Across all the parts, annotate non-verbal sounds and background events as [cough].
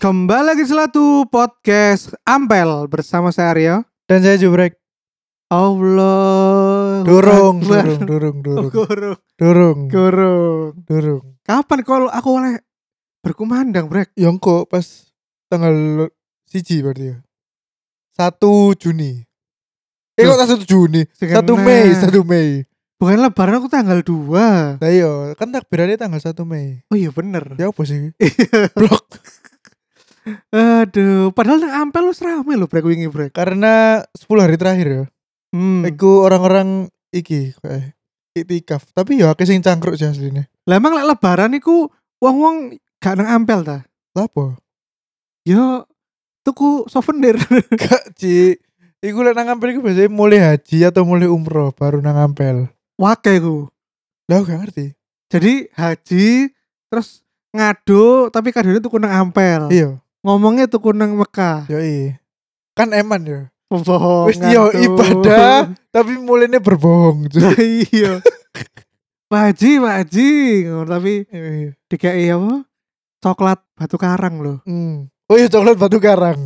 Kembali lagi di Selatu Podcast Ampel bersama saya Aryo. Dan saya jubrek. Allah. Durung, Akbar. durung, durung, durung, Gurung, durung, gurung. durung. Kapan kalau aku oleh berkumandang, Brek? Yang kok pas tanggal siji berarti ya. 1 Juni. Eh Loh, kok tak 1 Juni? sing 1 kena. Mei, 1 Mei. nah, Bukan lebaran aku tanggal 2. Nah iya, kan takbirannya tanggal 1 Mei. Oh iya bener. Ya apa sih? Iya. Blok. Aduh, padahal nang Ampel lu serame lo Brek wingi, Brek. Karena 10 hari terakhir ya. Hmm. Iku orang-orang iki kayak iktikaf. Tapi ya akeh sing cangkruk sih asline. Lah emang lek lebaran iku wong-wong gak nang Ampel ta? Lah apa? [laughs] Yo tuku souvenir. [laughs] Gak, Ci. Iku lek nang ampel iku biasanya mulai haji atau mulai umroh baru nang ampel. Wake ku. Lah aku gak ngerti. Jadi haji terus ngado tapi kadone tuku nang Ampel. Iya. ngomongnya tuh kunang Mekah Yoi. Kan eman ya. bohong Wis iya, [laughs] ibadah. Tapi mulainya berbohong. cuy. iya Pak Haji, Pak Haji Ngono, tapi Yoi. DKI apa coklat batu karang loh Hmm. Oh iya coklat batu karang.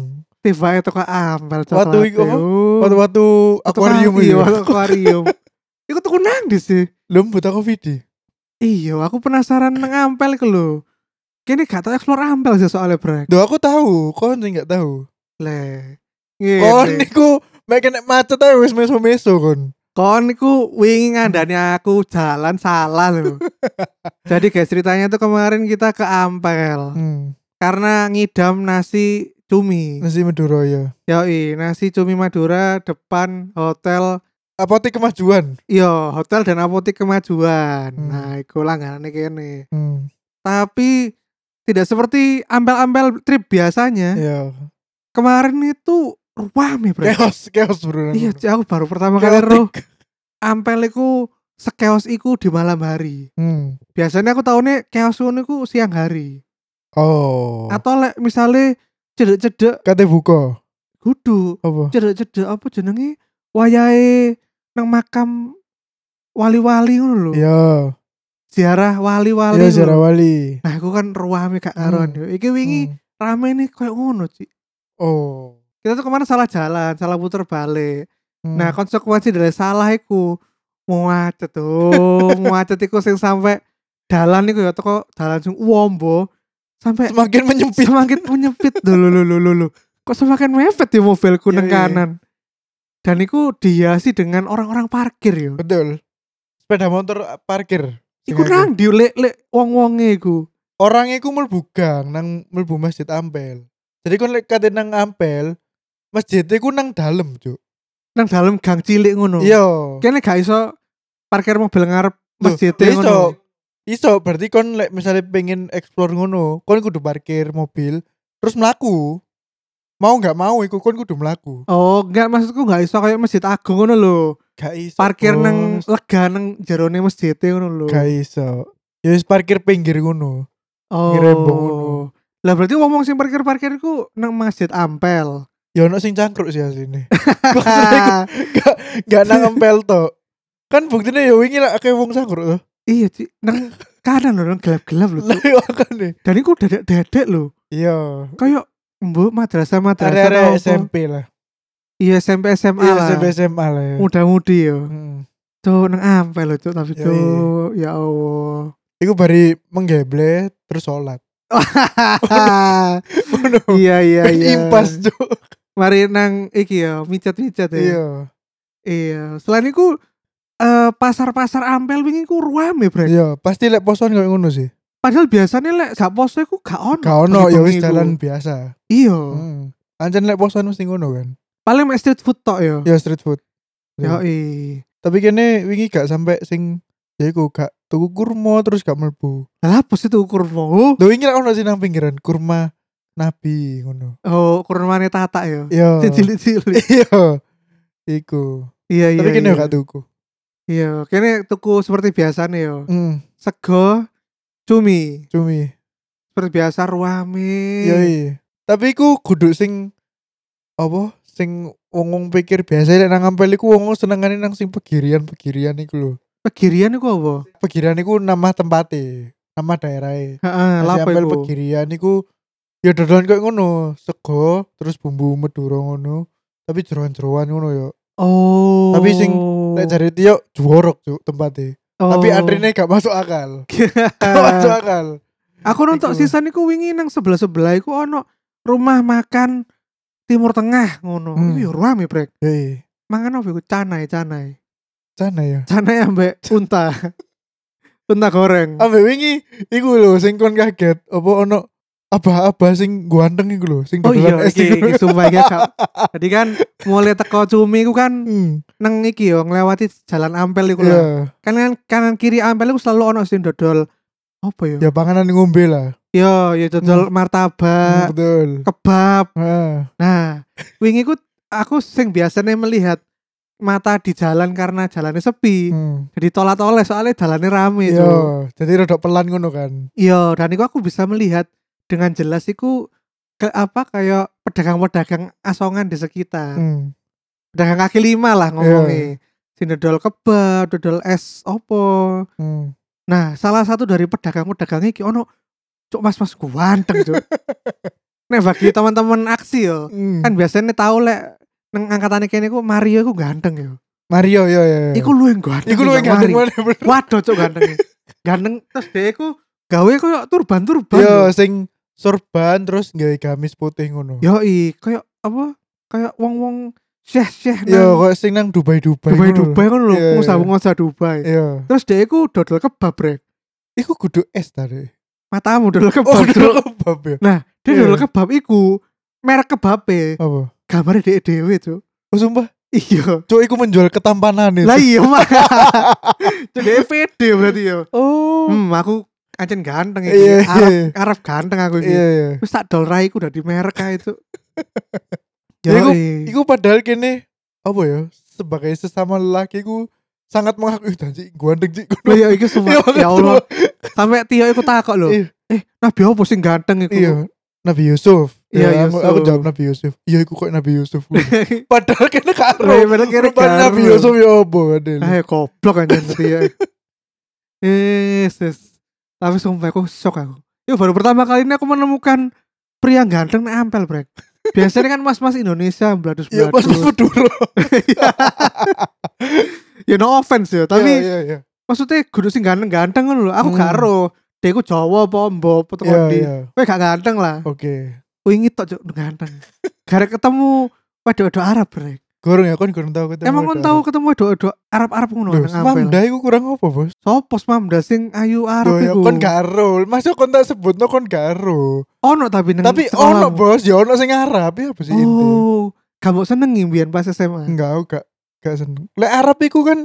tiba itu ke ampel coklat Watu iku apa? Watu-watu akuarium Hmm. iya itu. ya. watu [laughs] akuarium Iku tuh kunang di sih Lum buta covid di. iya aku penasaran nang ampel ke lo kini gak tau explore ampel sih soalnya brek Duh aku tahu, kon sing gak tahu. le Kon Ngene. niku mek kena macet ae wis meso-meso kon. Kon iku wingi ngandani aku jalan salah [laughs] loh. Jadi guys ceritanya tuh kemarin kita ke Ampel Hmm. karena ngidam nasi cumi. Nasi Madura ya. Yoi, nasi cumi Madura depan hotel Apotek kemajuan. Yo, hotel dan apotek kemajuan. Hmm. Nah, iku langganan kene. Hmm. Tapi tidak seperti ampel-ampel trip biasanya. Iya. Kemarin itu rame, [laughs] Bro. Chaos, chaos bro. Iya, Ci, aku baru pertama kali roh Chaotic. ampel iku sekeos iku di malam hari. Hmm. biasanya aku tahunya chaos ngono iku siang hari Oh. atau lek misalnya cedek-cedek Kate buka kudu apa? cedek-cedek apa jenenge wayahe nang makam wali-wali ngono lho Iya. ziarah wali-wali Iya ngono Zara lho. Wali. nah aku kan ruame kak karon Hmm. yo. iki wingi Hmm. rame nih koyo ngono sih Oh. kita tuh kemana salah jalan salah puter balik Hmm. nah konsekuensi dari salah iku muacet tuh [laughs] muacet iku sing sampai dalan iku ya toko dalan sing uombo sampai semakin menyempit. semakin menyempit dulu lo lo lo lo kok semakin mepet ya mobilku Iya, neng iya, iya. kanan dan itu dihiasi dengan orang-orang parkir yo Betul. Sepeda motor parkir. iku nang Sengaja. di lek lek wong wonge iku Orang iku mlebu gang nang mlebu Masjid Ampel. Jadi kon lek kate nang Ampel, masjid iku nang dalem, Cuk. nang dalam gang cilik ngono Iya. kene gak iso parkir mobil ngarep masjid Loh, ngono iso. Iso berarti kon lek misalnya pengen explore ngono, kon kudu parkir mobil terus mlaku. Mau nggak mau iku kon kudu mlaku. oh enggak maksudku gak iso kayak masjid agung ngono lho Gak iso. parkir Bos. nang lega nang jerone masjid ngono lho Oh. gak iso. Ya wis parkir pinggir ngono. ngerembong ngono. oh lah berarti ngomong sing parkir-parkir iku nang masjid Ampel Ya ono sing cangkruk [laughs] sih asline. [laughs] Maksudnya iku gak nang empel to kan buktinya ya wingi lah kayak wong sangkur tuh iya sih nang kanan lho nang gelap-gelap lho lah iya kan nih dan iku dedek-dedek lho iya kayak mbok madrasah madrasah area apa? SMP lah iya SMP SMA iya lah SMP SMA lah ya muda-mudi yo Mm. tuh nang ampel lho Cuk, tapi Yoi. iya. tuh ya [laughs] Allah Iku bari menggeble terus sholat [laughs] Ngono. iya iya Ben iya impas cuk mari nang iki ya micet-micet ya iya iya selain iku eh, pasar-pasar ampel wingi ku ruame brek iya pasti lek poson kayak ngono sih padahal biasanya lek gak poso iku gak ono gak ono ya bengi-bengi wis iku. jalan biasa iya Mm. Anjen lek poson mesti ngono kan paling mek street food tok yo ya street food yo Iya. tapi kene wingi gak sampai sing ya iku gak tuku kurma terus gak melbu lah apa sih tuh kurma Lho wingi lek ono sih nang pinggiran kurma nabi ngono oh kurmane tata yo [laughs] iya cilik-cilik iya iku Iya iya. tapi kene iya. gak tuku Iya, kene tuku seperti biasanya yo. hmm Sego, cumi, cumi seperti biasa ruame. iya iya tapi iku kudu sing apa sing wong wong pikir biasa lek nang ampel iku wong wong senengane nang sing pegirian pegirian iku lho Pegirian iku apa? pegirian iku nama tempate nama daerahnya Heeh, Nasi Nah, lapo ampel iku? pegirian iku ya dodolan koyo ngono sego terus bumbu meduro ngono tapi jeroan-jeroan ngono yo Oh. Tapi sing- Nek jare Tio juworok cuk tempatnya. Oh. Ah. Tapi [laughs] antrine gak masuk akal. Gak masuk akal. Aku nonton Iku. sisa niku wingi nang sebelah sebelah iku ono rumah makan Timur Tengah ngono. Iku Hmm. yo rame brek. Hei, Mangan opo iku canai canai. sana ya. Canai ambek unta. [laughs] unta goreng. Ambe wingi iku lho sing kon kaget apa ono abah-abah sing ganteng iku lho sing Oh iya, dodolan es iki, iku. iki sumpah iki [laughs] Kak. Tadi kan mulai teko cumi ku kan Hmm, neng iki yo nglewati jalan ampel iku lho. iya. Kanan kanan kiri ampel iku selalu ono sing dodol apa yo? Ya panganan ngombe lah. Yo, yo dodol martabak, Hmm, Betul. kebab. Ah, Nah, wingi ku aku sing biasanya melihat mata di jalan karena jalannya sepi. hmm. Jadi tolak oleh soalnya jalannya rame Iya, Cuk. jadi rodok pelan ngono kan. Iya, dan itu aku bisa melihat dengan jelas iku ke apa kayak pedagang-pedagang asongan di sekitar. Hmm. Pedagang kaki lima Iya. lah ngomongnya. Sing dodol kebab, dodol es opo. hmm. Nah, salah satu dari pedagang-pedagang iki ono cuk mas-mas ganteng [laughs] cuk. Nek bagi teman-teman aksi yo, Hmm. kan biasanya tahu lek neng angkatane kene ku Mario ku ganteng yo. Mario yo yo. yo. Iku lu yang ganteng. Iya. iku luwih timbang ganteng Mario. mana bener. Waduh cuk [laughs] ganteng. e. ganteng terus dia iku gawe koyo turban-turban. Yo Yo, Iya, sing sorban terus gawe gamis putih ngono. Yo, yo i koyo apa? Kayak wong-wong syekh-syekh nang Iya, kok sing nang Dubai-Dubai. Dubai ngono lho. Dubai ngono lho, Iya, iya. pengusaha-pengusaha Dubai. Iya. Terus dia iku dodol kebab rek. Iku kudu es tadi. Matamu dodol kebab. Oh, Cuk. kudu kebab ya. Dia Iya. dodol kebab iku merek kebabe Apa? gambarnya dia dewe tuh Oh sumpah, iya cowok iku menjual ketampanan itu. lah iya [laughs] mah dia pede berarti ya Oh. hmm aku ancen ganteng iki Iya, Arab, iya. Arab ganteng aku iki Iya, iya. terus tak dolrai ku udah di merek kayak itu Ya, iku- Yoi. Iku padahal kene apa ya? Sebagai sesama lelaki iku sangat mengakui dan sih gandeng sih. Loh, ya iki semua Iya, banget, ya Allah sampai Tio iku takok lho Iya. eh nabi apa sing ganteng [laughs] iku Iya. Nabi Yusuf. Iya, Ya, aku, Yusuf. aku jawab Nabi Yusuf. Iya, iku kok Nabi Yusuf. [laughs] padahal kene karo. Iya, padahal kene Rupanya karo. Nabi Yusuf ya apa kadel. eh goblok anjing Tio ya. yes yes tapi sumpah aku shock aku Yo baru pertama kali ini aku menemukan pria ganteng nek ampel brek biasanya kan mas-mas Indonesia beladus Iya, pas beladus Maduro. [laughs] ya no offense ya Iya, tapi iya, iya. maksudnya kudu sing ganteng-ganteng kan lho aku Hmm. gak ero dia ku Jawa apa mbok apa Iya, tekan di iya. kowe gak ganteng lah Oke. wingi tok cuk ganteng gara ketemu wedok-wedok Arab brek Gorong ya, kon gorong tau ketemu. emang kon ada tau kan? ketemu wedok-wedok Arab-Arab ngono Loh, nang ampel Mamda iku kurang apa, Bos? sopo mamda sing ayu Arab Loh, ya, iku kon garo. Masa kon tak sebutno kon garo. ono tapi nang Tapi ono, sekolahmu. Bos, ya ono sing Arab ya apa sih inti. Kan oh kamu seneng ngimbian pas SMA Enggak, aku gak gak seneng. Lek Arab iku kan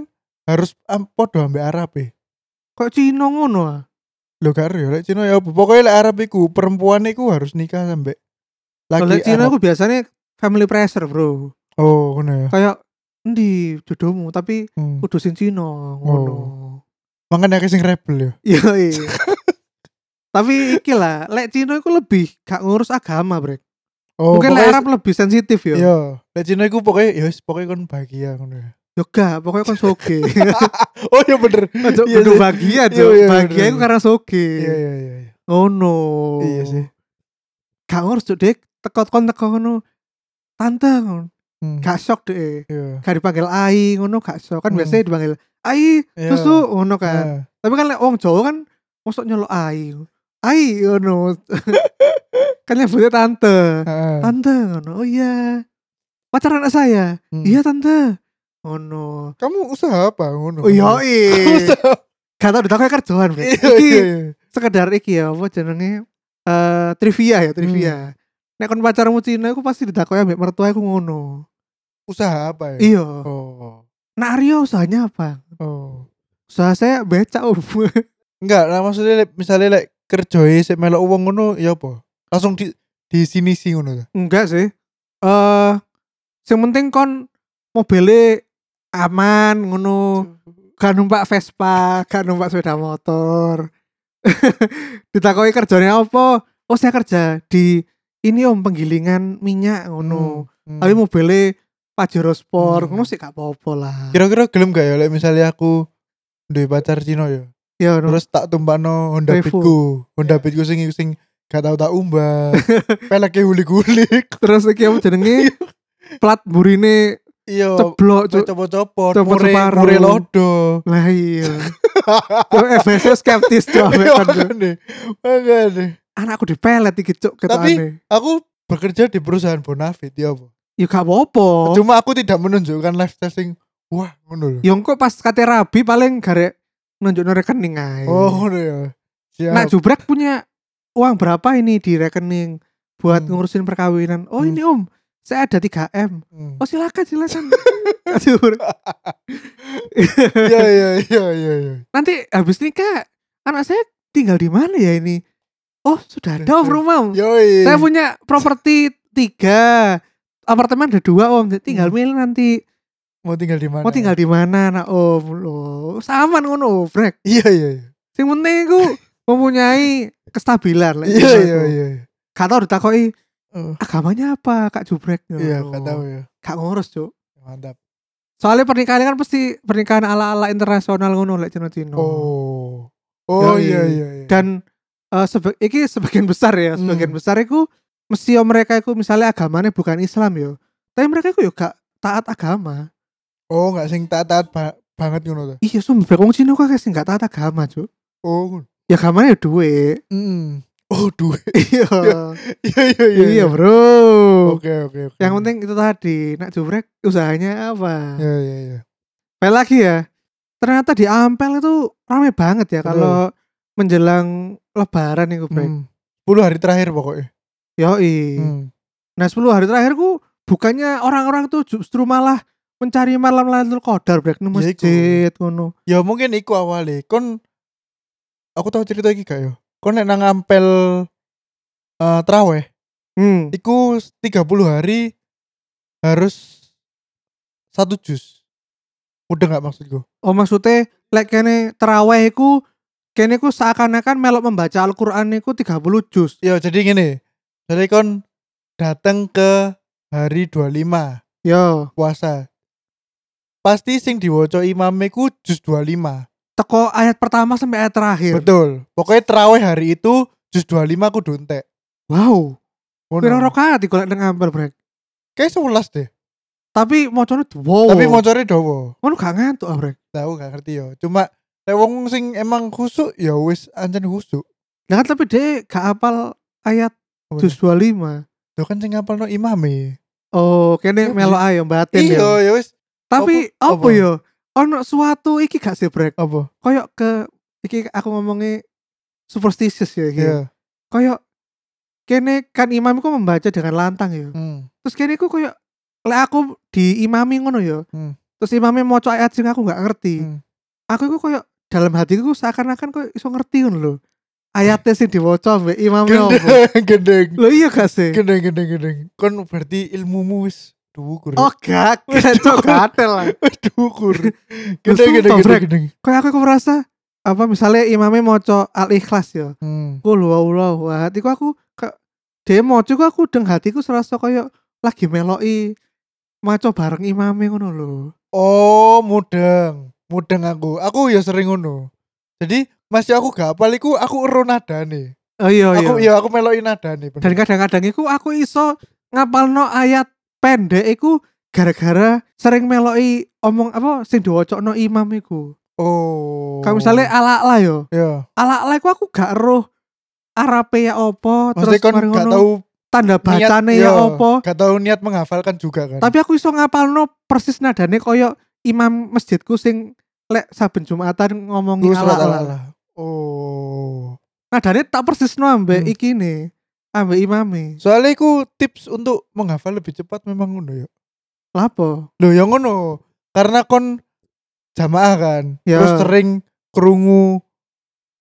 harus am, podo ambek Arab ya. kok Cino ngono ah? Loh, gak ya lek Cina ya apa? Pokoknya lek Arab iku perempuan iku harus nikah sampe laki Kalau Cina Arab. aku biasanya family pressure bro. Oh, ngono ya. Kayak di jodohmu tapi Hmm. kudu sing Cina ngono. Oh. Makanya aku sing rebel ya. Iya. iya. [laughs] tapi iki lah, lek Cina aku lebih gak ngurus agama, Brek. Oh, Mungkin lek pokoknya- Arab lebih sensitif ya. Iya, lek Cina iku pokoknya ya wis, pokoknya kon bahagia ngono [laughs] ya. Yo gak, pokoknya kon soge. [laughs] Oh, [laughs] iya bener. Ojo Iya kudu sih. bahagia, Iya, Cuk. iya, Bahagia bener. iku karena soge. Iya, iya, iya. iya. Ngono. Iya sih. Gak ngurus Cuk, Dek. Teko kon teko ngono. Tante ngono. Hmm. Gak shock Dek. Iya. Gak dipanggil Ai ngono gak shock. Kan Hmm. biasanya dipanggil Ai, Iya. susu ngono kan. Nah. Tapi kan lek wong Jawa kan mosok nyeluk ai. Ai [laughs] ngono. kan nyebutnya tante. Heeh. Tante ngono. Oh iya. Pacar anak saya. Hmm. Iya tante. Ngono. Kamu usaha apa ngono? Oh iya. [laughs] iya. Usaha. Gak tau ditakoni kerjaan, Bro. Hmm. Iya, Iki iya, iya. sekedar iki ya apa jenenge eh trivia ya, Hmm. trivia. Nek kon pacarmu Cina aku pasti ditakoni ambek mertua aku ngono. Usaha apa ya? Iya. Oh. Nah Aryo usahanya apa? Oh. Usaha saya becak om. [laughs] Enggak, lah maksudnya lek- misalnya lek kerjoe sik melok wong ngono ya apa? Langsung di di sini sih ngono ta. Enggak sih. Eh yang penting kon mobilnya aman ngono. Gak numpak Vespa, gak numpak sepeda motor. [laughs] Ditakoi kerjanya apa? Oh, saya kerja di ini om penggilingan minyak ngono. Hmm. Tapi mobilnya Pajero Sport Hmm. ngono sih gak apa-apa lah. kira-kira gelem gak ya lek misalnya aku duwe pacar Cina ya. Ya ngono. Terus tak tumpakno Honda Revo. Iya. Beatku. Honda Beatku sing sing Gak tau tak [laughs] umbah. Peleke gulik-gulik. Terus iki apa [laughs] jenenge? Plat burine Iya. ceblok cuk. Coba-coba. Copot Mure, separuh. mure lodo. Lah iya. Cuk FSU skeptis cuk. [laughs] Iya, awekan, cuk. makanya. Makanya. Anakku dipelet iki cuk ketane. Aku bekerja di perusahaan Bonafit ya apa? Ya gak apa-apa. Cuma aku tidak menunjukkan live testing. Wah, ngono lho. Yo engko pas kate rabi paling garek nunjukno rekening ae. Oh, ngono ya. Siap. Nak Jubrek punya uang berapa ini di rekening buat Hmm. ngurusin perkawinan? Oh Hmm. ini om, saya ada 3M. Hmm. Oh silakan silakan. [laughs] Kak Jubrek. Iya, iya, iya, iya, iya. Nanti habis nikah anak saya tinggal di mana ya ini? Oh sudah ada om Iya. rumah om. Yoi. Saya punya properti tiga, apartemen ada dua om. Tinggal Hmm. milih nanti mau tinggal di mana? mau tinggal di mana nak om lo. Sama ngono brek. Iya, iya, iya. Yang penting aku mempunyai kestabilan. lah. Iya, iya, iya. Gak tau ditakoki Oh. agamanya apa Kak Jubrek Ya Iya, Allah. gak tahu ya. Gak ngurus cuk Mantap. soalnya pernikahan kan pasti pernikahan ala ala internasional ngono lek cino cino Oh. Oh, Yoi. iya, iya, iya. dan eh sebe iki sebagian besar ya Hmm. sebagian besar itu mesti yo mereka itu misalnya agamanya bukan Islam yo tapi mereka itu yo gak taat agama Oh, gak sing taat-taat ba- banget ngono ta. iya sumpah wong Cina kok sing gak taat agama cuk Oh. ngono. ya agamanya yo duit Mm. Oh, duit. [laughs] [laughs] iya Iya, iya, iya. iya iya. bro Oke, oke, oke. yang penting itu tadi nak jubrek usahanya apa Iya, iya, iya. Pel lagi ya. Ternyata di Ampel itu rame banget ya Betul. kalau menjelang lebaran itu, Brek. Hmm. 10 hari terakhir pokoknya. Yoi. Hmm. Nah, 10 hari terakhirku bukannya orang-orang tuh justru malah mencari malam Lailatul Qadar, Brek, nang Ya, iku. masjid ngono. Ya mungkin iku awalnya kon aku tahu cerita iki gak yo. Kon nek nang ampel eh traweh Hmm. iku 30 hari harus satu jus. Udah nggak maksudku? Oh, maksudnya lek kene tarawih iku kene ku seakan-akan melok membaca Al-Qur'an niku 30 juz. Ya jadi gini. Jadi kon datang ke hari 25 Yo, puasa. Pasti sing diwoco imame ku jus 25. teko ayat pertama sampai ayat terakhir. Betul. Pokoknya traweh hari itu jus 25 ku duntek. Wow. Ngono. Pira rakaat iku lek nang Ampel, Brek. Kayak 11 deh. Tapi mocone wow. Tapi mocore dowo. ngono gak ngantuk, ah, Brek. tahu gak ngerti yo cuma lek wong sing emang khusuk ya wis ancen khusuk Nah kan tapi dia gak apal ayat Apa ya? juz 25 Lho kan sing ngapalno imame Oh kene Iya, melo ayo batin iya ya ya wis Tapi Apa- apa apa? yo Ono suatu iki gak sih brek apa Koyok ke Iki aku ngomongnya Superstitious ya iki iya Koyok Kene kan imam ku membaca dengan lantang ya hmm. Terus kene ku koyok Lek aku di imami ngono ya Hmm. Terus imamnya mau ayat sing aku gak ngerti Hmm. Aku iku koyok Dalam hatiku seakan-akan koyok iso ngerti ngono lho Ayatnya sing diwoco mbek imamnya apa gendeng [laughs] gendeng Lho iya gak sih gendeng gendeng gendeng kon berarti ilmumu wis dhuwur ya. Oh gak, gak cok gatel lah. [laughs] Wis dhuwur [laughs] Lho, gendeng gendeng sumpah, gendeng Brek. gendeng Kayak aku, aku merasa apa misalnya imamnya mau al ikhlas ya. hmm. Kul wow wow wah hatiku aku ke demo juga aku deng hatiku serasa kayak lagi meloi maco bareng imamnya ngono lho. oh mudeng mudeng aku aku ya sering ngono jadi masih aku gak apal iku aku ero nadane Oh iya aku iya. ya aku meloki nadane bener. Dan kadang-kadang iku aku iso ngapalno ayat pendek iku gara-gara sering meloi omong apa sing diwocokno imam iku. oh Kayak misalnya ala-ala yo. ya Ala-ala iku aku gak roh arape ya apa Maksudnya kon mari gak ngono. tahu tanda niat- bacane ya iya, opo Gak tahu niat menghafalkan juga kan. tapi aku iso ngapalno persis nadane koyo imam masjidku sing lek saben Jumatan ngomongi Lu surat ala-ala. ala-ala. Oh. Nadane tak persisno ambek Hmm. iki ne, ambek imame. Soalnya aku tips untuk menghafal lebih cepat memang ngono ya. Lapo? Loh ya ngono. Karena kon jamaah kan. Ya. Terus sering kerungu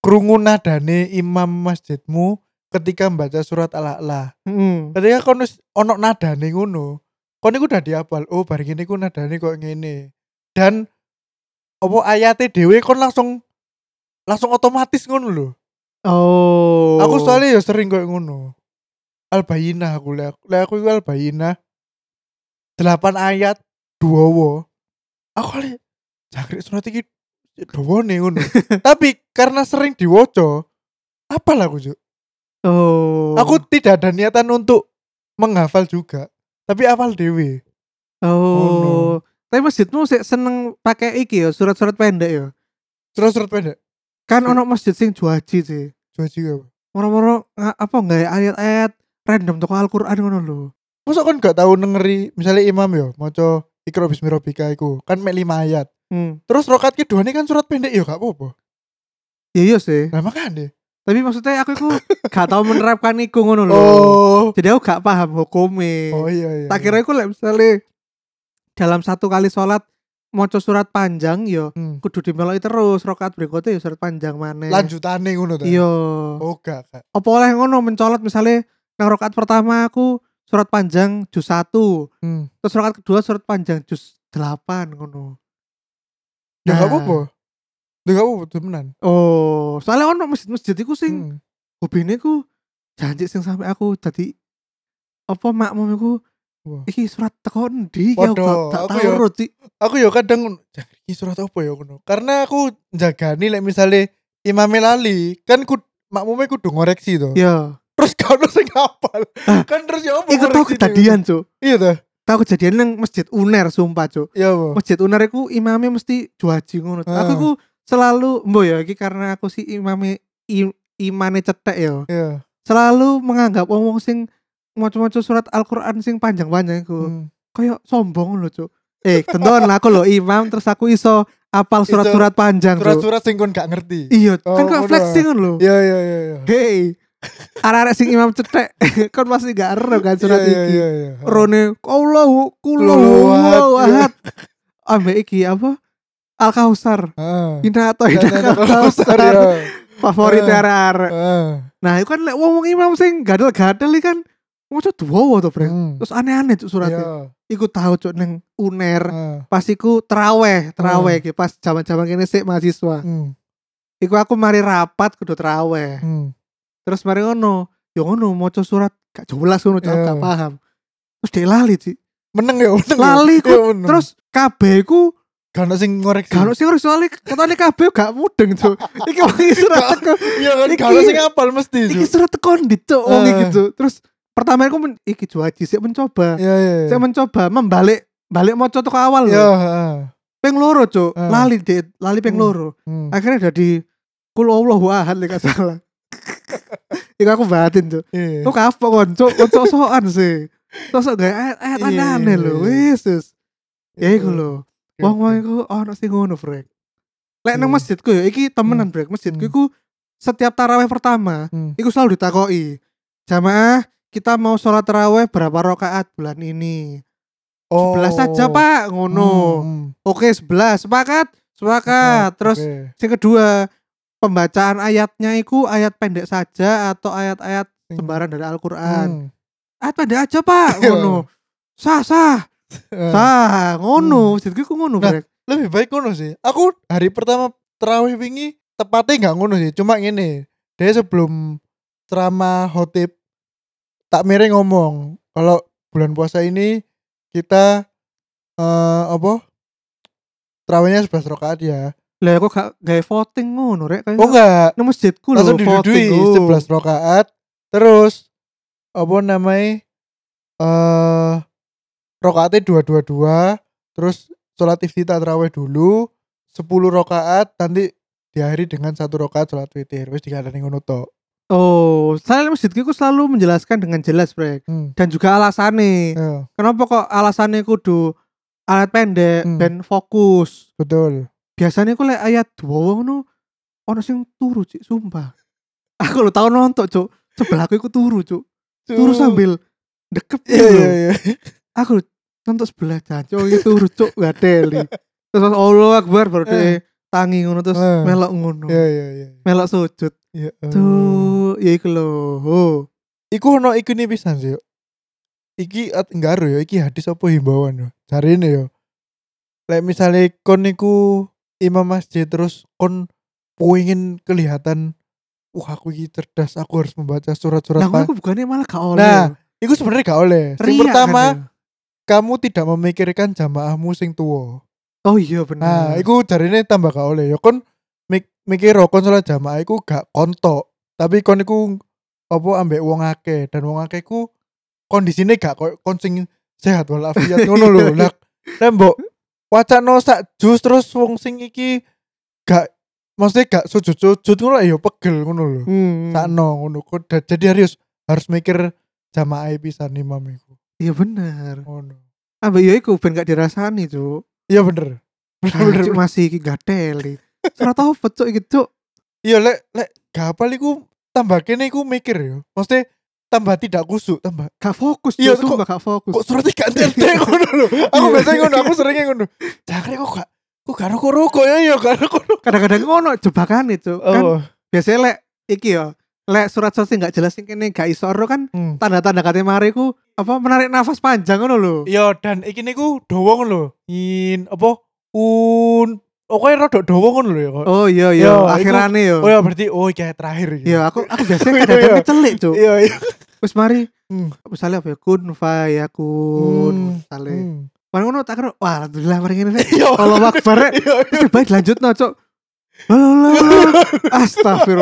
kerungu nadane imam masjidmu ketika baca surat ala-ala. Heeh. Ketika kon wis ono nadane ngono, kon iku udah dihafal. Oh, bar ngene iku nadane kok ngene. Dan opo ayate dhewe kon langsung langsung otomatis ngono lho. Oh. Aku soalnya ya sering kok ngono. Albayina aku lek lek aku iku albayina. 8 ayat duowo. Aku lek jangkrik surat iki dawane ngono. Tapi karena sering diwoco, apal aku, Cuk. Oh. Aku tidak ada niatan untuk menghafal juga, tapi hafal dewe. Oh. no. Tapi masjidmu sih seneng pakai iki ya, surat-surat pendek ya. Surat-surat pendek. Kan ono masjid sing juaji sih. Coba juga. Moro-moro nga- apa enggak ya ayat-ayat random toko Al-Qur'an ngono lho. Masa kan gak tahu nengeri, misalnya imam ya, maca Iqra bismi rabbika iku, kan mek 5 ayat. Hmm. Terus rokat keduanya kan surat pendek ya gak apa-apa. Iya iya sih. Lah makane. Tapi maksudnya aku [laughs] itu gak tau menerapkan iku ngono lho. Oh. Jadi aku gak paham hukumnya. Oh iya iya. tak kira aku lek misalnya dalam satu kali sholat maca surat panjang yo Hmm. kudu dimeloki terus rakaat berikutnya yo surat panjang maneh. lanjutane ngono ta. Iya. Oh gak gak. Apa oleh ngono mencolot misalnya nang rakaat pertama aku surat panjang juz 1, Hmm. terus rakaat kedua surat panjang juz 8 ngono. Ya gak Nah. apa-apa. Ya gak apa-apa temenan. Oh, soalnya ono masjid-masjid iku sing Hmm. hobine ku janji sing sampe aku jadi apa makmum iku Wah. iki surat teko endi ya aku Podo, gak aku tau yo. urut sih. Aku ya kadang "Jan, iki surat apa ya ngono. Karena aku jagani lek misale imame lali, kan ku makmume kudu ngoreksi to. Yo. Terus kalau sing hafal. Kan terus ya apa? Ya, Iku tau ngoreksi kejadian, Cuk. dewe? Iya ta. tahu kejadian nang masjid uner sumpah cuk Iya apa? masjid uner iku imamnya mesti juaji ngono Ah. aku ku selalu mbo ya iki karena aku si imamnya im, imane cetek ya Iya. selalu menganggap wong sing maca-maca surat Al-Qur'an sing panjang-panjang iku Hmm. kayak sombong lho cuk eh tentuan aku lo imam terus aku iso apal Iso surat-surat panjang cuk Surat-surat sing kon gak ngerti. iya Oh, kan kok ngono flexing kan lo Iya iya iya iya. hei arek-arek sing imam [laughs] cetek kan pasti gak ero kan surat Iya, iya, iki iya, iya. Rone Allahu kulo Kulo ahad. ahad. Ambek iki apa? Al Kausar. Ah. Ina atau Nah, Ina nah, Al nah, kalau besar, ya. Kausar. Favorit Eh. arek. Ah. Nah, itu kan lek wong imam sing gadel-gadel iki kan moco duwowo to, Bre. Hmm. Terus ya. aneh-aneh cuk suratnya. Iya. Iku tahu cuk neng UNER. Ah. Pas iku teraweh, teraweh iki pas jaman-jaman kene sik mahasiswa. Hmm. Iku aku mari rapat kudu teraweh. Hmm. Terus mari ngono, yo ngono maca surat gak jelas ngono cuk aku gak Iya. paham. Terus dia lali, Ci. Meneng ya, meneng. ya. Lali ku, Iya, meneng. Terus kabeh ku gak ada sing ngoreksi. Kalau sih harus soalnya katanya kabeh gak mudeng tuh. Iki wangi surat teko, Iya kan, Iki- gak ada sing hafal mesti. Cuk. iki surat teko ndi cok wangi Eh. gitu. Terus pertama aku men, iki juaji sih mencoba, Iya iya. saya mencoba membalik balik mau toko awal Iya. loh. ah. Peng loro cok, Eh. lali deh, lali peng Hmm. loro. Hmm. Akhirnya jadi kul Allahu ahad lek gak salah. [laughs] Iku aku batin cok. Iya, iya. Kok kapok kon cok, kon sok-sokan sih. Sosok gak ayat ayat Iya, aneh iya, lho, iya. wis wis. Ya iku Iya. lho. Wong-wong iku ono sing ngono, Brek. Lek nang Iya. masjidku ya iki temenan, Brek. Masjidku Hmm. iku setiap taraweh pertama Hmm. iku selalu ditakoki. Jamaah, kita mau sholat taraweh berapa rakaat bulan ini? Oh. 11 saja, Pak. Ngono. Hmm, hmm. Oke, 11. Sepakat? Sepakat. Terus Oke. Hmm. sing kedua, pembacaan ayatnya iku ayat pendek saja atau ayat-ayat Sing- sembaran dari Al-Qur'an. Hmm. Ayat pendek aja, [laughs] Pak. Ngono. Sah, sah, Eh, sah. Ngono. Masjidku iku ngono, Nah, Brek. Lebih baik ngono sih. Aku hari pertama terawih wingi tepatnya gak ngono sih. Cuma ini dia sebelum ceramah khotib tak mere ngomong kalau bulan puasa ini kita eh apa terawihnya 11 rakaat ya. Lah kok gak gawe voting ngono rek kayak Oh enggak, nang masjidku lho langsung voting. oh. didudui 11 rakaat terus apa namanya eh rakaatnya dua dua dua terus sholat iftitah taraweh dulu 10 rakaat nanti diakhiri dengan satu rakaat sholat witir wis dikandani ngono tok Oh, saya masjidku ku selalu menjelaskan dengan jelas, Brek. hmm. Dan juga alasannya. iya, Kenapa kok alasannya kudu alat pendek Hmm. ben fokus. betul Biasanya ku lek ayat dua ngono ono sing turu, Cik, sumpah. Aku lo tau nonton, Cuk. Sebelahku iku turu, Cuk. Turu sambil dekep iya gitu. iya iya aku nonton sebelah jancok itu rucuk gak deli terus pas Allah Akbar baru dia tangi ngono terus Eh. melok ngono iya iya iya melok sujud iya eh. tuh ya iku lho oh. iku ono iku nih pisan sih yuk. iki at- enggak ero ya iki hadis apa himbauan yo cari ini yo lek misalnya kon niku imam masjid terus kon pengen kelihatan wah aku iki cerdas aku harus membaca surat-surat nah Pak." aku bukannya malah gak oleh Nah, iku sebenarnya gak oleh yang Riak pertama kan ya. kamu tidak memikirkan jamaahmu sing tua oh iya bener nah iku jarine tambah gak oleh ya kon mik mikir kon salah jamaah iku gak kontok tapi kon iku apa ambek wong akeh dan wong akeh ku kondisine gak koyo kon sing sehat walafiat ngono lho. Lah tembok wacana sak jus terus wong sing iki gak maksudnya gak sujud-sujud ngono ya pegel ngono lho. Hmm. Sakno ngono ku Da- jadi harus harus mikir jamaah pisan imam iku. Iya bener. Ngono. Ambek yo iku ben gak dirasani, Cuk. Iya bener. Bener Ah, bener. Cuk masih iki gateli. Ora tau pecuk iki, Cuk. gitu. Iya lek lek kapal iku tambah kene iku mikir yo. Maksudnya tambah tidak kusuk, tambah Gak fokus, Iya, Cuk. Sumpah gak fokus. kok suratnya gak tete [laughs] ngono lho. Aku Iya. biasanya ngono, aku seringnya ngono. Cakre kok gak kok gak rokok rokok ya ya gak rokok. Kadang-kadang ngono jebakan itu. Kan Oh. biasanya lek iki yo lek surat-surat sing gak jelas sing kene gak iso ro kan Hmm. tanda-tanda kate mari ku apa menarik nafas panjang ngono lho. Iya dan iki niku dawa ngono lho. In apa un Oke rada dawa ngono lho ya kok. Oh iya Iya, iya iku- akhirane yo. Oh ya berarti oh iki yang terakhir iki. Iya aku aku biasanya [laughs] Iya, kadang-kadang iya. kecelik, Cuk. Iya iya. Wis mari Hmm. misalnya apa ya kun fayakun Hmm. misalnya Hmm. Mari ngono tak kira wah alhamdulillah mari ngene [laughs] Rek. Iya. Allah Akbar Rek. Iya. Wis baik lanjut no cok Alah,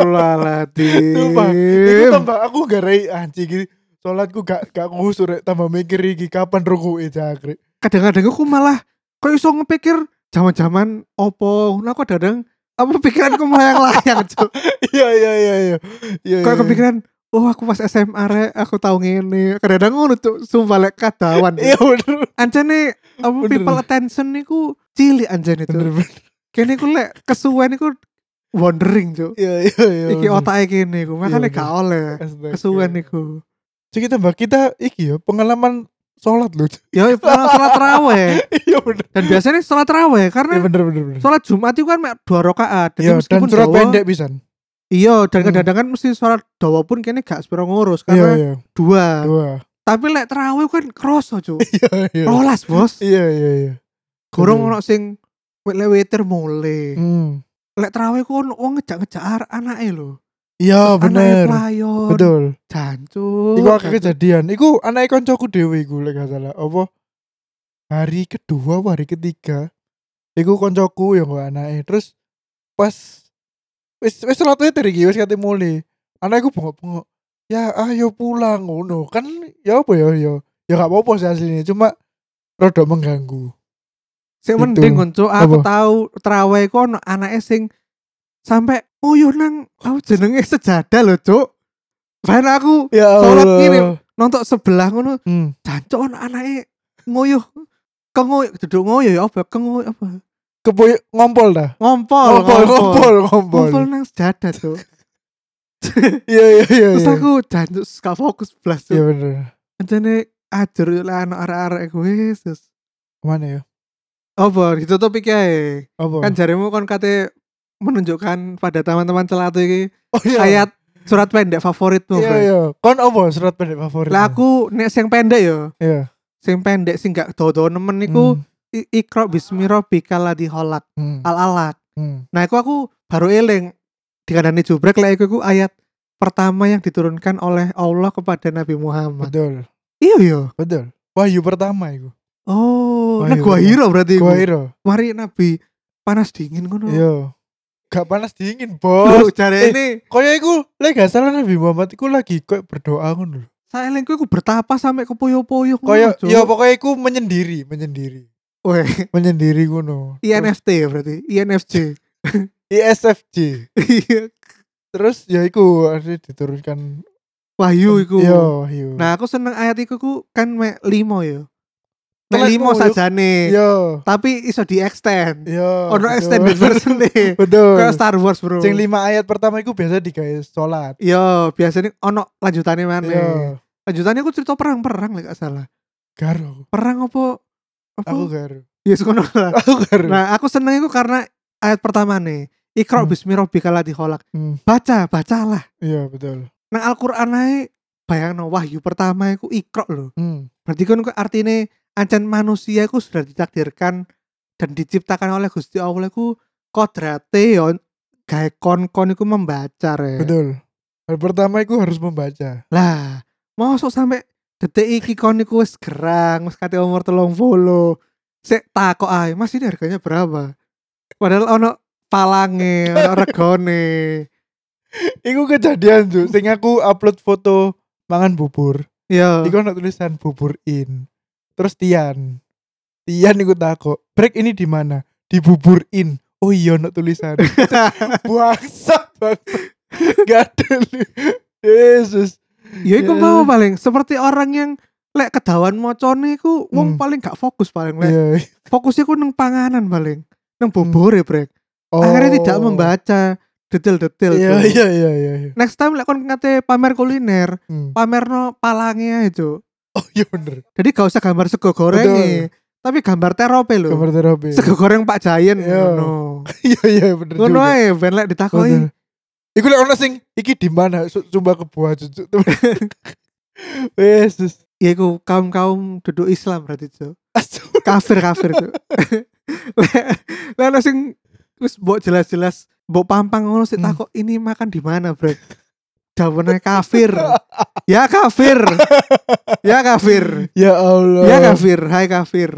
Astagfirullahaladzim Sumpah, Iku tambah aku gak rei anjing iki. Salatku gak gak kusuk Rek. tambah mikir iki kapan e, rukuke cakre. Kadang-kadang aku malah Kok iso ngepikir Jaman-jaman Opo Nah aku kadang Apa pikiranku melayang-layang [laughs] cok Iya iya iya iya. Iya. Kok iya. kepikiran Oh aku pas SMA rek Aku tau ngene Kadang-kadang ngono cok Sumpah lek kadawan Iya bener. Anjane Apa Bener. people attention niku Cilik anjane Bener itu bener. Kene ku lek Kesuwen niku Wandering cok Iya iya iya. Iki e bener. otaknya gini, gue makanya Iya, gak oleh Astaga. kesuwen niku. Jadi kita mbak kita iki ya pengalaman sholat loh. Ya pernah sholat raweh [laughs] Iya bener. dan biasanya sholat raweh Iya karena bener bener bener. sholat Jumat itu kan mek dua rakaat. Jadi Iya dan meskipun surat dawa- pendek pisan. Iya dan Hmm. kadang-kadang kan mesti sholat dawa pun kayaknya gak sepiro ngurus Iya karena iya. dua. Dua. Tapi lek teraweh kan kroso [laughs] cuy. Iya iya. Rolas bos. Iya iya iya. Gorong Bener. ono sing wit leweter mulai. Hmm. Lek teraweh ku ono wong ngejak-ngejak arek anake lho. Iya Anake bener. playon. Betul. Jancuk. Iku akeh kejadian. Iku anak koncoku dewe iku lek gak salah. Apa hari kedua apa hari ketiga iku koncoku yang gue anake. Terus pas wis wis salat witir iki wis kate mule. Anakku bengok-bengok. Ya ayo pulang ngono. Kan ya apa ya ya ya gak apa-apa sih aslinya cuma rada mengganggu. Sing Itu. mending konco aku Gitu. Apa? tahu terawih ku ono anake sing sampai uyuh nang aku jenenge sejadah lho, Cuk. Bahan aku Ya Salat ngene. nonton sebelah ngono, Hmm. jancuk ono anake nguyuh. Kengoy, duduk ngoyo ya apa? Kengoy apa? Kepoy ngompol dah. Oh, Ngompol, Ngompol, ngompol, ngompol. Ngompol nang sejadah, Cuk. Iya iya iya. Terus iya. aku jancuk gak fokus blas, Iya Cuk. bener. Anjane ajur yo lah anak arek-arek gue, Yesus. Kemana ya? Apa ditutup iki ae. Apa? Kan jarimu kon kate menunjukkan pada teman-teman celatu iki oh, iya. ayat surat pendek favoritmu Iya bro. iya. Kon apa surat pendek favorit? Lah aku nek sing pendek yo, Iya. sing pendek sing gak dodo nemen niku i- Iqra bismi rabbikal ladzi khalaq Hmm, al alaq. hmm, Nah iku aku baru eling dikandani jubrek lah iku iku ayat pertama yang diturunkan oleh Allah kepada Nabi Muhammad. Betul. Iya yo. Betul. Wahyu pertama iku. Oh, Wah, nah iya, gua bener. hero berarti iku. Hmm. Kuairo. Mari Nabi panas dingin ngono. Iya. Gak panas dingin, Loh, Bos. jare eh. ini Kaya iku lek gak salah Nabi Muhammad iku lagi koyo berdoa ngono lho. saya eling iku bertapa sampai ke puyuh-puyuh ngono, Kaya Hmm, Cuk. ya pokoknya iku menyendiri, menyendiri. Weh, Menyendiri ngono. Terus INFT ya berarti, INFJ. Nah. ISFJ. [laughs] Iya, Terus ya iku akhirnya diturunkan Wahyu iku. Iya, wahyu. Nah, aku seneng ayat iku ku kan mek limo ya. Mek Telekmu, limo yuk. sajane. Iya. Tapi iso di extend. Iya. Ono betul. extended version e. [laughs] Betul. Kayak Star Wars, Bro. Sing lima ayat pertama iku biasa digawe salat. Yo, biasanya ono lanjutane mana? Iya. Lanjutane aku cerita perang-perang lek gak salah. Garo. Perang apa? Apa? Aku garo. Yes, kono lah. Oh. [laughs] Aku garo. Nah, aku seneng iku karena ayat pertama nih. Iqra Hmm. bismi rabbikal ladzi khalaq. Hmm, Baca, bacalah. iya betul. Nang Al-Qur'an ae bayangno wahyu pertama iku Iqra lho. Hmm. Berarti kan ku artine ancan manusia ku sudah ditakdirkan dan diciptakan oleh Gusti Allah ku kodrate yo gawe kon-kon iku ya. membaca rek. Betul. Hal pertama iku harus membaca. Lah, mosok sampe detik iki kon iku wis gerang, wis kate umur 30. Sik takok ae, Mas ini harganya berapa? Padahal ono palange, ono regone. Iku kejadian tuh. Sing aku upload foto mangan bubur. Iya. Iku ana tulisan bubur in. Terus Tian. Tian iku takok, "Break ini di mana?" Di bubur in. Oh iya ana [laughs] tulisan. Bangsat banget. Gak ada. li- Yesus. Ya iku Ya. mau paling seperti orang yang lek kedawan mocone iku wong Hmm. paling gak fokus paling lek. Iya. Fokusnya ku nang panganan paling. Nang bubur ya, Brek. Hmm. Oh. Akhirnya tidak membaca detail-detail Iya tuh. iya iya iya. iya. Next time lek kon ngate pamer kuliner, Hmm. pamerno palangnya itu. Oh iya bener. Jadi gak usah gambar sego goreng tapi gambar terope lho. Gambar terapi. Sego goreng Pak Jayen Iya. ngono. Iya iya bener. Ngono juga. ae ben lek ditakoni. Bener. Iku lek ono sing iki di mana? Su- Sumpah kebuah [laughs] cucu. Yesus. Ya iku kaum-kaum duduk Islam berarti, Cuk. Asu. kafir kafir [laughs] tuh lalu sing terus mbok jelas-jelas mbok pampang ngono sik Hmm. takok ini makan di mana bro jawabane [laughs] kafir ya kafir ya kafir Ya Allah. ya kafir hai kafir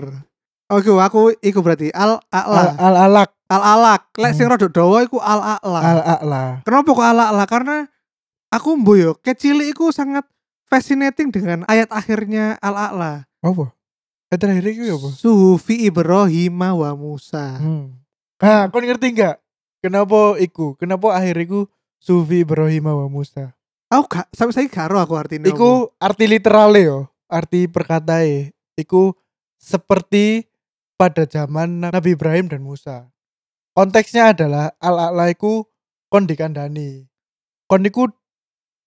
oke aku iku berarti al Al- ala Al alak. al alak lek sing Hmm. rada dawa iku al ala Al alak. kenapa kok al ala karena aku mboyo kecil iku sangat fascinating dengan ayat akhirnya al ala Apa? Eh terakhir itu apa? Sufi Ibrahim wa Musa Hmm. Ah, kau ngerti nggak? Kenapa iku? Kenapa akhir iku Sufi Ibrahim wa Musa? Aku gak, sampai saya gak ero aku artinya apa. Iku arti literale yo, arti perkatae. Iku seperti pada zaman Na- Nabi Ibrahim dan Musa. Konteksnya adalah ala-ala iku kon dikandani. Kon iku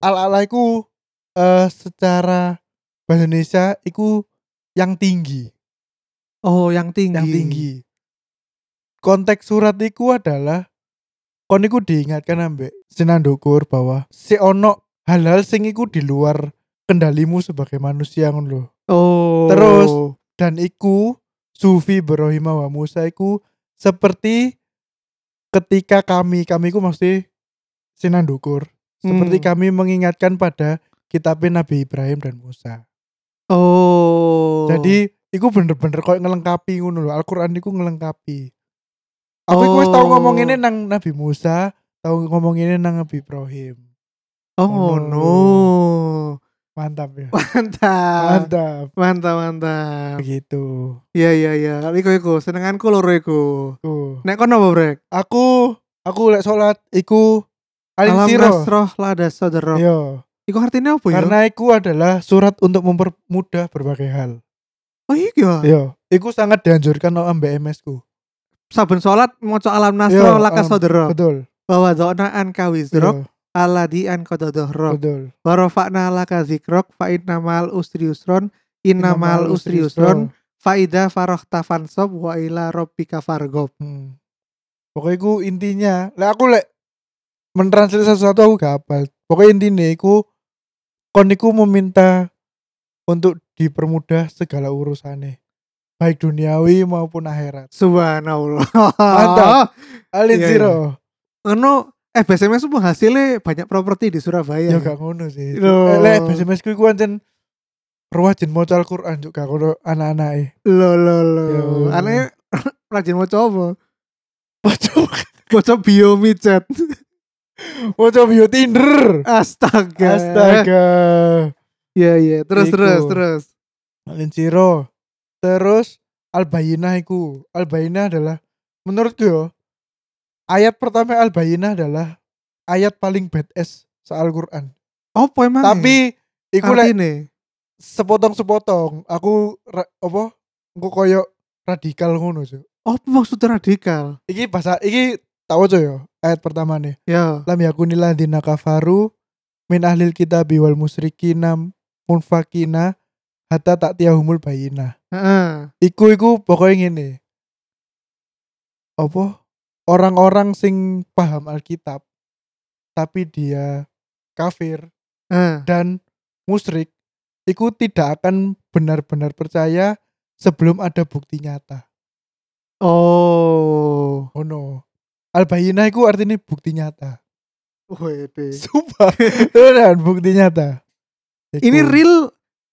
ala-ala iku eh, secara bahasa Indonesia iku yang tinggi. Oh yang tinggi yang tinggi. Konteks surat iku adalah kon iku diingatkan ambek sinandukur bahwa si ono halal sing iku di luar kendalimu sebagai manusia ngono lho. Oh Terus. Dan iku sufi Ibrahim wa Musa iku seperti ketika kami kami iku mesti sinandukur. Seperti Hmm. kami mengingatkan pada kitabnya Nabi Ibrahim dan Musa. Oh Jadi iku bener-bener koyo ngelengkapi ngono lho. Al-Qur'an iku ngelengkapi. Aku iku wis tau Oh. ngomong ini nang Nabi Musa, tau ngomong ini nang Nabi Ibrahim. Oh Oh, no Mantap ya. Mantap Mantap. Gitu. Mantap mantap Begitu. Iya iya iya Iku iku senenganku loro iku Tuh. Nek kono apa brek? Aku aku lek salat iku alim Alam siro. nasroh lada saudara Iya. Iku artinya apa ya? Karena iku adalah surat untuk mempermudah berbagai hal. Oh iya Iya. Iku sangat dianjurkan oleh MBMS ku. Saben sholat Moco alam Iya, nasroh laka alam- saudara Betul. Bahwa zona an kawizrok Iya, Aladi an kododohrok Betul. Warofakna laka zikrok fa innamal usri yusron innamal usri yusron fa idza farahta fansob wa ila rabbika fargob. Hmm. Pokoknya ku intinya, lah aku lek mentranslate sesuatu aku gak hafal. Pokoknya intinya aku koniku meminta untuk dipermudah segala urusannya baik duniawi maupun akhirat. Subhanallah. Mantap. Alin Iya, siro, Ngono eh SMS semua hasilnya banyak properti di Surabaya. ya gak ngono sih. Loh. Eh, Lek SMS ku iku ancen ruwajin maca Al-Qur'an juga ngono anak-anake. Lo lo lo. Ya Allah. Aneh [laughs] rajin mau coba. Maca Mau coba biomi chat. maca bio Tinder. Astaga. Astaga. Iya iya. Terus Iku. terus terus. Alin Siro. Terus Albayina iku. Albayina adalah menurutku yo ayat pertama Albayina adalah ayat paling badass soal Quran. Opo emang? Tapi iku lek nih. sepotong-sepotong aku ra, apa engko koyo radikal ngono Cuk. Opo maksudnya radikal? Iki bahasa iki tahu aja yo ayat pertama nih. Ya. Lam yakunil ladzina kafaru min ahlil kitabi wal musyrikina munfakina hatta ta'tiyahumul bayinah. Heeh. Iku iku pokoknya ngene. Apa? Orang-orang sing paham Alkitab tapi dia kafir Heeh. dan musyrik, iku tidak akan benar-benar percaya sebelum ada bukti nyata. Oh. Oh no. Al-bayinah iku artinya bukti nyata. Wede. Sumpah. Beneran bukti nyata. Iku. Ini real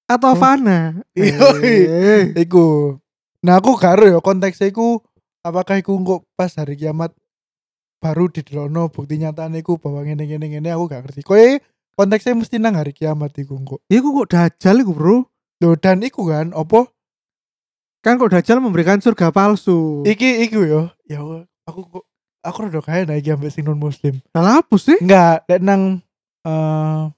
atau Hmm. fana? Yoi. Eh. Iku. Nah aku karo ya konteksnya iku apakah iku engko pas hari kiamat baru didelokno bukti nyatane iku bahwa ngene ngene ngene aku gak ngerti. Koe konteksnya mesti nang hari kiamat iku kok. Ya iku kok dajal iku, Bro. Loh, dan iku kan opo Kan kok dajal memberikan surga palsu. iki iku yo. Ya Allah, aku kok aku rada kaya nek iki ambek sing non muslim. Salah apa sih? Enggak, nek nang eh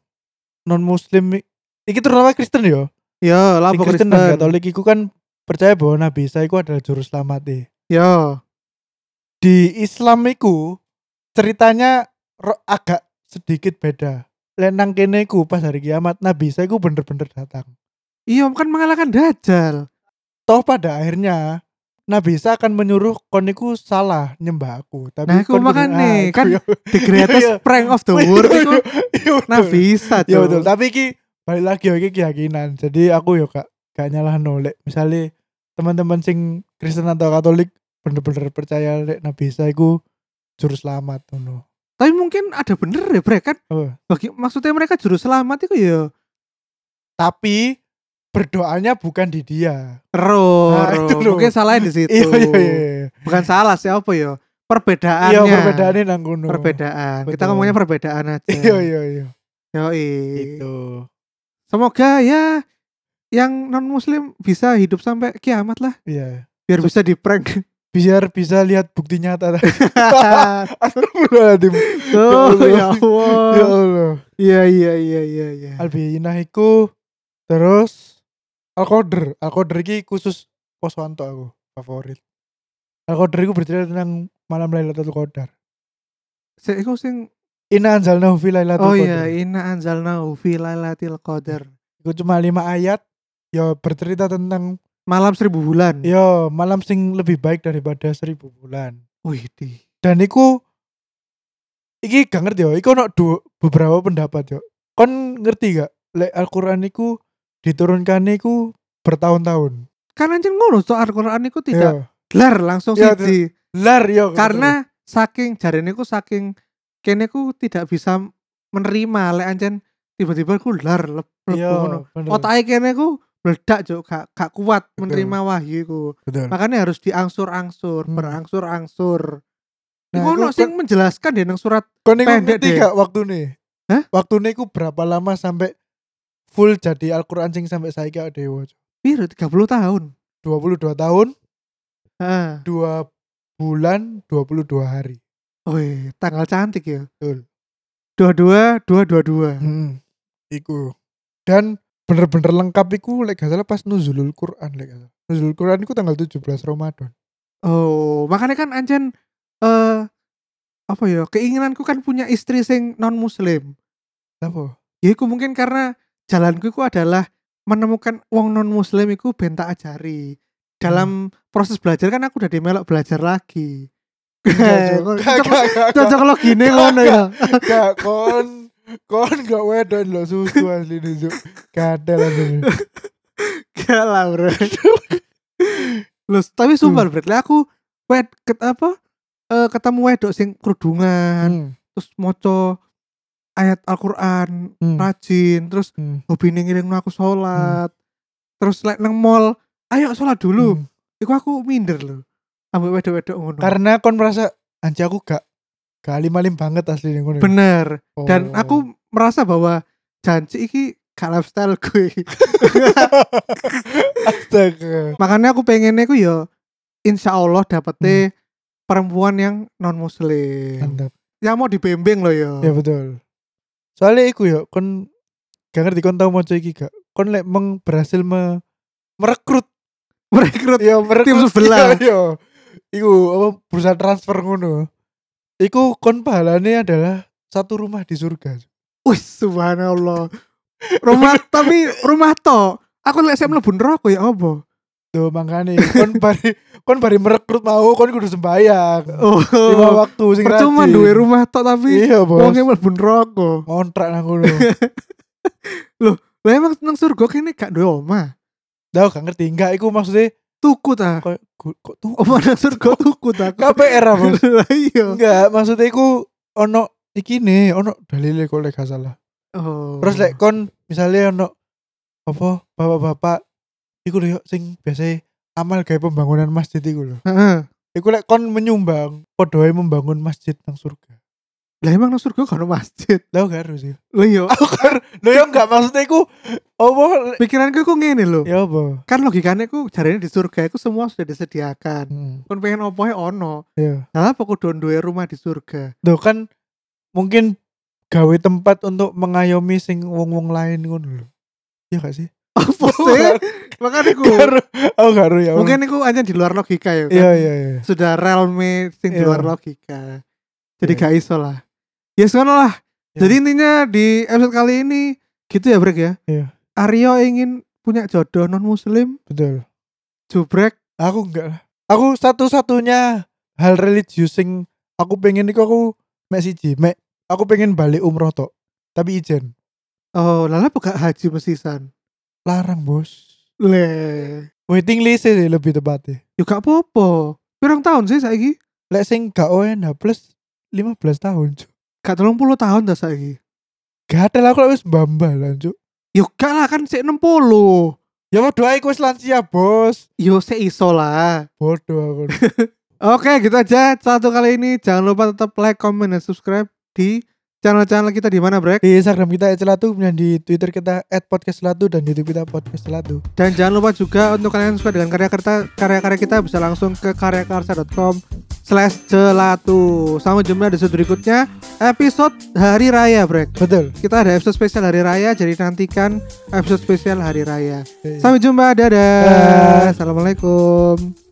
non muslim i- iki terutama Kristen yo. Ya, Di lapo Kristen. Kristen dan Katolik iku kan percaya bahwa Nabi Isa iku adalah juru selamat eh. Ya, Di Islam iku ceritanya ro- agak sedikit beda. Lenang kene iku pas hari kiamat Nabi Isa iku bener-bener datang. iya kan mengalahkan dajal. Toh pada akhirnya Nabi Isa akan menyuruh kon iku salah nyembah aku. Tapi Nah, iku kon bener- makane, ah, iku [laughs] kan ya. The greatest Iya, iya. prank of the Iya, world [laughs] iya, iku iya, betul. Navisa, Ya betul, Cuk. tapi iki balik lagi ya, iki keyakinan. Jadi aku yo gak gak nyalah nolek. Misalnya teman-teman sing Kristen atau Katolik bener-bener percaya lek Nabi Isa iku juru selamat ngono. Tapi mungkin ada bener ya, Bre, kan? Oh. Bagi maksudnya mereka juru selamat itu ya Tapi berdoanya bukan di dia. ro, Nah, ro. itu loh. Mungkin salahnya [laughs] di situ. Iya iya iya. Bukan salah sih apa ya? Perbedaannya. Iya perbedaannya nang kono. Perbedaan. Kita Betul. ngomongnya perbedaan aja. Iya iya iya. Yoi. Gitu. Itu. Semoga ya yang non muslim bisa hidup sampai kiamat lah Iya. biar bisa di [laughs] prank. Biar bisa lihat bukti nyata. [laughs] Astagfirullahaladzim. Tuh, Ya ya Ya Allah. Allah. Iya iya iya iya iya. Albinah iku terus Alkoder. Alkoder iki khusus Poswanto aku favorit. Alkoder iku bercerita tentang malam Lailatul Qadar. Sik, iku sing Inna anzalnahu fi Lailatul Oh iya, Qadar. inna anzalnahu fi lailatul qadar. Iku cuma lima ayat ya bercerita tentang Malam seribu bulan. ya malam sing lebih baik daripada seribu bulan. Wih, di. Dan iku iki gak ngerti yo, iku ono du- beberapa pendapat yo. Kon ngerti gak? Lek Al-Qur'an iku diturunkan iku bertahun-tahun. Kan anjing ngono so Al-Quran iku tidak Yo. lar langsung Iya, siji. Lar yo. Karena saking jarene ku saking kene ku tidak bisa menerima lek anjen tiba-tiba ku lar lep- lebu ngono. Iya, bener. Otake kene ku meledak juk gak, gak kuat Betul. menerima wahyu iku. Betul. Makanya harus diangsur-angsur, Hmm. berangsur-angsur. Nah, Iku ono iku- sing menjelaskan deh nang surat Kon niku pendek ngerti deh. gak waktune? Hah? Waktune iku berapa lama sampai full jadi Al-Qur'an sing sampai saiki awake dhewe? biru 30 tahun. 22 tahun, Heeh. 2 bulan, 22 hari. Wih, tanggal cantik ya. Betul. 22 222. Hmm. Iku. Dan bener-bener lengkap iku lek gak salah pas nuzulul Qur'an lek gak salah. Nuzulul Qur'an iku tanggal 17 Ramadan. Oh, makanya kan anjen eh apa ya? Keinginanku kan punya istri sing non muslim. [laughs] Apa? Ya iku mungkin karena jalanku iku adalah menemukan wong non muslim iku ben tak ajari. Dalam proses belajar kan aku udah dimelok belajar lagi. [laughs] Cocok lo gini ngono ya. Gak kon kon gak wedon lo susu asli nuzul. Kadal asli. Gak lah, Bro. Loh, tapi sumpah, Bro. Lah aku wed ket apa? eh, ketemu wedok sing kerudungan, Hmm. terus moco ayat Al-Quran Hmm. rajin terus Hmm. hobi ngiring aku sholat terus like nang mall ayo sholat dulu Hmm. iku aku minder loh ambil wedok-wedok ngono Karena kon merasa anjir aku gak gak alim-alim banget asli nih ngono. bener Oh. dan aku merasa bahwa janji iki gak lifestyle gue [laughs] astaga. makanya aku pengennya aku ya insya Allah dapetnya Hmm. perempuan yang non muslim Mantap. yang mau dibembing loh ya [laughs] Ya betul. Soalnya iku yo kon gak ngerti kon tau maca iki gak? Kon lek meng berhasil me, merekrut Iya, merekrut ya merekrut sebelah. Iya, iya. Iku apa perusahaan transfer ngono. Iku kon pahalane adalah satu rumah di surga. Wih, subhanallah. [laughs] Rumah tapi rumah to. Aku lek saya mlebu neraka ya apa? Tuh makanya [laughs] kon bari kon bari merekrut mau kon kudu sembayang. Oh. Lima waktu sing Percuma rajin. duwe rumah e- tok tapi Iya, Bos. wonge mlebu neraka. ngontrak nang [laughs] ngono. Lah emang nang surga kene gak duwe omah. Lah gak ngerti. Enggak iku maksudnya Tuku ta. kok gu- kok tuh Omah nang surga tuku ta. KPR [laughs] apa? Lah iya. Enggak, maksudnya iku ono iki nih, ono dalile kok lek gak salah. Oh. Terus lek kon misalnya ono apa bapak-bapak iku lho yuk, sing biasa amal gawe pembangunan masjid iku lho. Heeh. Iku lek kon menyumbang, podoe membangun masjid nang surga. Lah emang nang surga kan masjid. Lah gak harus ya. Lah iya. yo Aku kan, lo ya gak maksudnya iku opo pikiranku kok ngene lho. ya apa? Kan logikanya ku jarene di surga iku semua sudah disediakan. Hmm. Kon pengen opo ae ono. Ya. Lah apa kudu duwe rumah di surga? Loh kan mungkin gawe tempat untuk mengayomi sing wong-wong lain ngono lho. Iya gak sih? Apa sih? Makane ku Garu. Oh, garu ya. Allah. mungkin iku aja di luar logika ya. kan? Iya, iya, iya. Sudah realme sing di Iya. luar logika. Jadi Iya. gak iso lah. Ya sono lah. Iya. Jadi intinya di episode kali ini gitu ya Brek ya. Iya. Aryo ingin punya jodoh non muslim, Betul. jubrek Aku enggak lah. Aku satu-satunya hal religius sing aku pengen iku aku mek siji, mek aku pengen balik umroh tok. Tapi ijen Oh, lala buka haji mesisan. larang, Bos. Le, Waiting list sih lebih tepatnya. yo gak apa-apa. Pirang tahun sih saiki? Lek sing gak ONH plus 15 tahun, Cuk. Gak 30 tahun dah saiki. Gak ada lah aku lek wis bambal lah, Cuk. Yo gak lah kan sik 60. Ya mau doa iku wis lansia, Bos. Yo sik iso lah. [laughs] Bodoh aku. Oke, gitu aja satu kali ini. Jangan lupa tetap like, comment, dan subscribe di channel-channel kita di mana, Brek. di Instagram kita @celatu, kemudian di Twitter kita @podcastcelatu dan YouTube kita podcastcelatu. Dan jangan lupa juga untuk kalian yang suka dengan karya karya karya-karya kita bisa langsung ke karyakarsa.com slash celatu. Sampai jumpa di episode berikutnya. Episode Hari Raya, Brek. Betul. Kita ada episode spesial Hari Raya, jadi nantikan episode spesial Hari Raya. Oke. Sampai jumpa, dadah. Bye. Assalamualaikum.